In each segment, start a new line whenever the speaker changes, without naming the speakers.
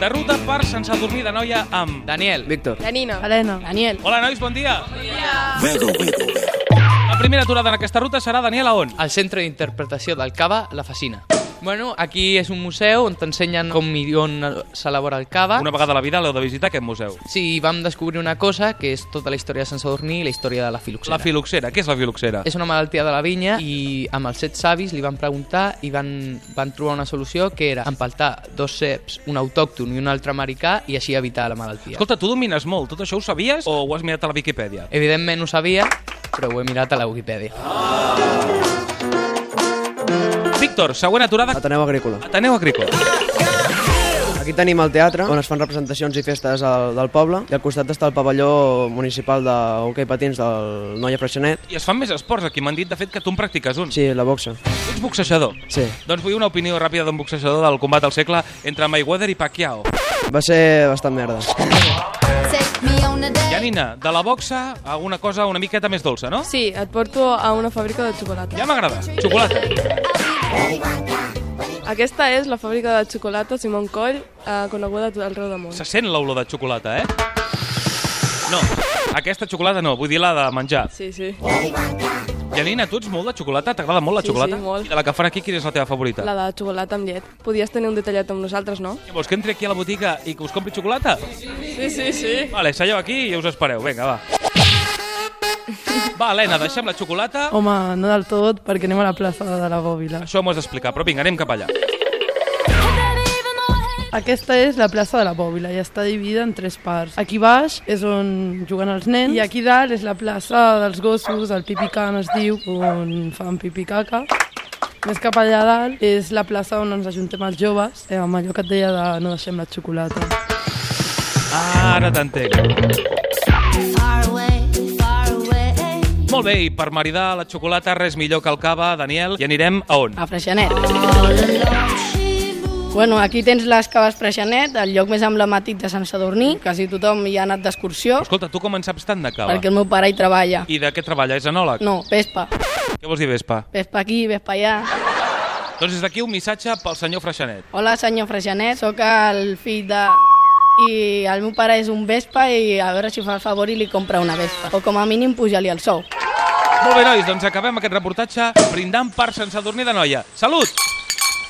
De ruta per sense dormir de noia amb...
Daniel.
Víctor.
La Nina.
Helena.
Daniel.
Hola, nois, bon dia. Bon dia. La primera aturada en aquesta ruta serà Daniel a on?
El centre d'interpretació del cava, la Fascina. Bueno, aquí és un museu on t'ensenyen com i on s'elabora el cava.
Una vegada a la vida l'heu de visitar aquest museu.
Sí, vam descobrir una cosa, que és tota la història de Sant Sadurní i la història de la filoxera.
La filoxera. Què és la filoxera?
És una malaltia de la vinya i amb els set savis li van preguntar i van, van trobar una solució que era empaltar dos ceps, un autòcton i un altre americà i així evitar la malaltia.
Escolta, tu domines molt. Tot això ho sabies o ho has mirat a la Viquipèdia?
Evidentment ho sabia, però ho he mirat a la Wikipedia.
Víctor, següent aturada.
Ateneu Agrícola.
Ateneu Agrícola.
Aquí tenim el teatre, on es fan representacions i festes del, del poble, i al costat està el pavelló municipal de hoquei patins del Noia Freixenet.
I es fan més esports aquí. M'han dit, de fet, que tu en practiques un.
Sí, la boxa.
Ets boxejador.
Sí.
Doncs vull una opinió ràpida d'un boxejador del combat al segle entre Mayweather i Pacquiao.
Va ser bastant merda.
Janina, de la boxa, alguna cosa una miqueta més dolça, no?
Sí, et porto a una fàbrica de xocolata.
Ja m'agrada. Xocolata.
Aquesta és la fàbrica de xocolata Simon Coll, eh, coneguda a tot arreu del món.
Se sent l'olor de xocolata, eh? No, aquesta xocolata no, vull dir la de menjar.
Sí, sí.
Janina, tu ets molt de xocolata? T'agrada molt la
Sí,
xocolata?
sí, molt.
I de la que fan aquí, quina és la teva favorita?
La de xocolata amb llet. Podies tenir un detallat amb nosaltres, no?
Què Vols que entri aquí a la botiga i que us compri xocolata?
Sí, sí, sí.
Vale, seieu aquí i us espereu. Vinga, va. Va, Helena, deixem la xocolata.
Home, no del tot, perquè anem a la plaça de la Bòbila.
Això m'ho has d'explicar, però vinga, anem cap allà.
Aquesta és la plaça de la Bòbila i està dividida en tres parts. Aquí baix és on juguen els nens i aquí dalt és la plaça dels gossos, el pipican es diu, on fan pipicaca. Més cap allà dalt és la plaça on ens ajuntem els joves, eh, amb allò que et deia de no deixem la xocolata.
Ah, ara t'entenc. Molt bé, i per maridar la xocolata res millor que el cava, Daniel, i anirem a on?
A Freixenet. Bueno, aquí tens les caves Freixenet, el lloc més emblemàtic de Sant Sadurní. Quasi tothom hi ha anat d'excursió,
Escolta, tu com en saps tant de cava?
perquè el meu pare hi treballa.
I de què treballa? És enòleg?
No, Vespa.
Què vols dir, Vespa?
Vespa aquí, Vespa allà.
Doncs des d'aquí un missatge pel senyor Freixenet.
Hola, senyor Freixenet, sóc el fill de... I el meu pare és un Vespa i a veure si fa el favor i li compra una Vespa. O com a mínim puja-li el sou.
Molt bé, nois, doncs acabem aquest reportatge brindant per sense dormir de noia. Salut!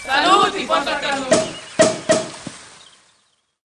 Salut i porta calor!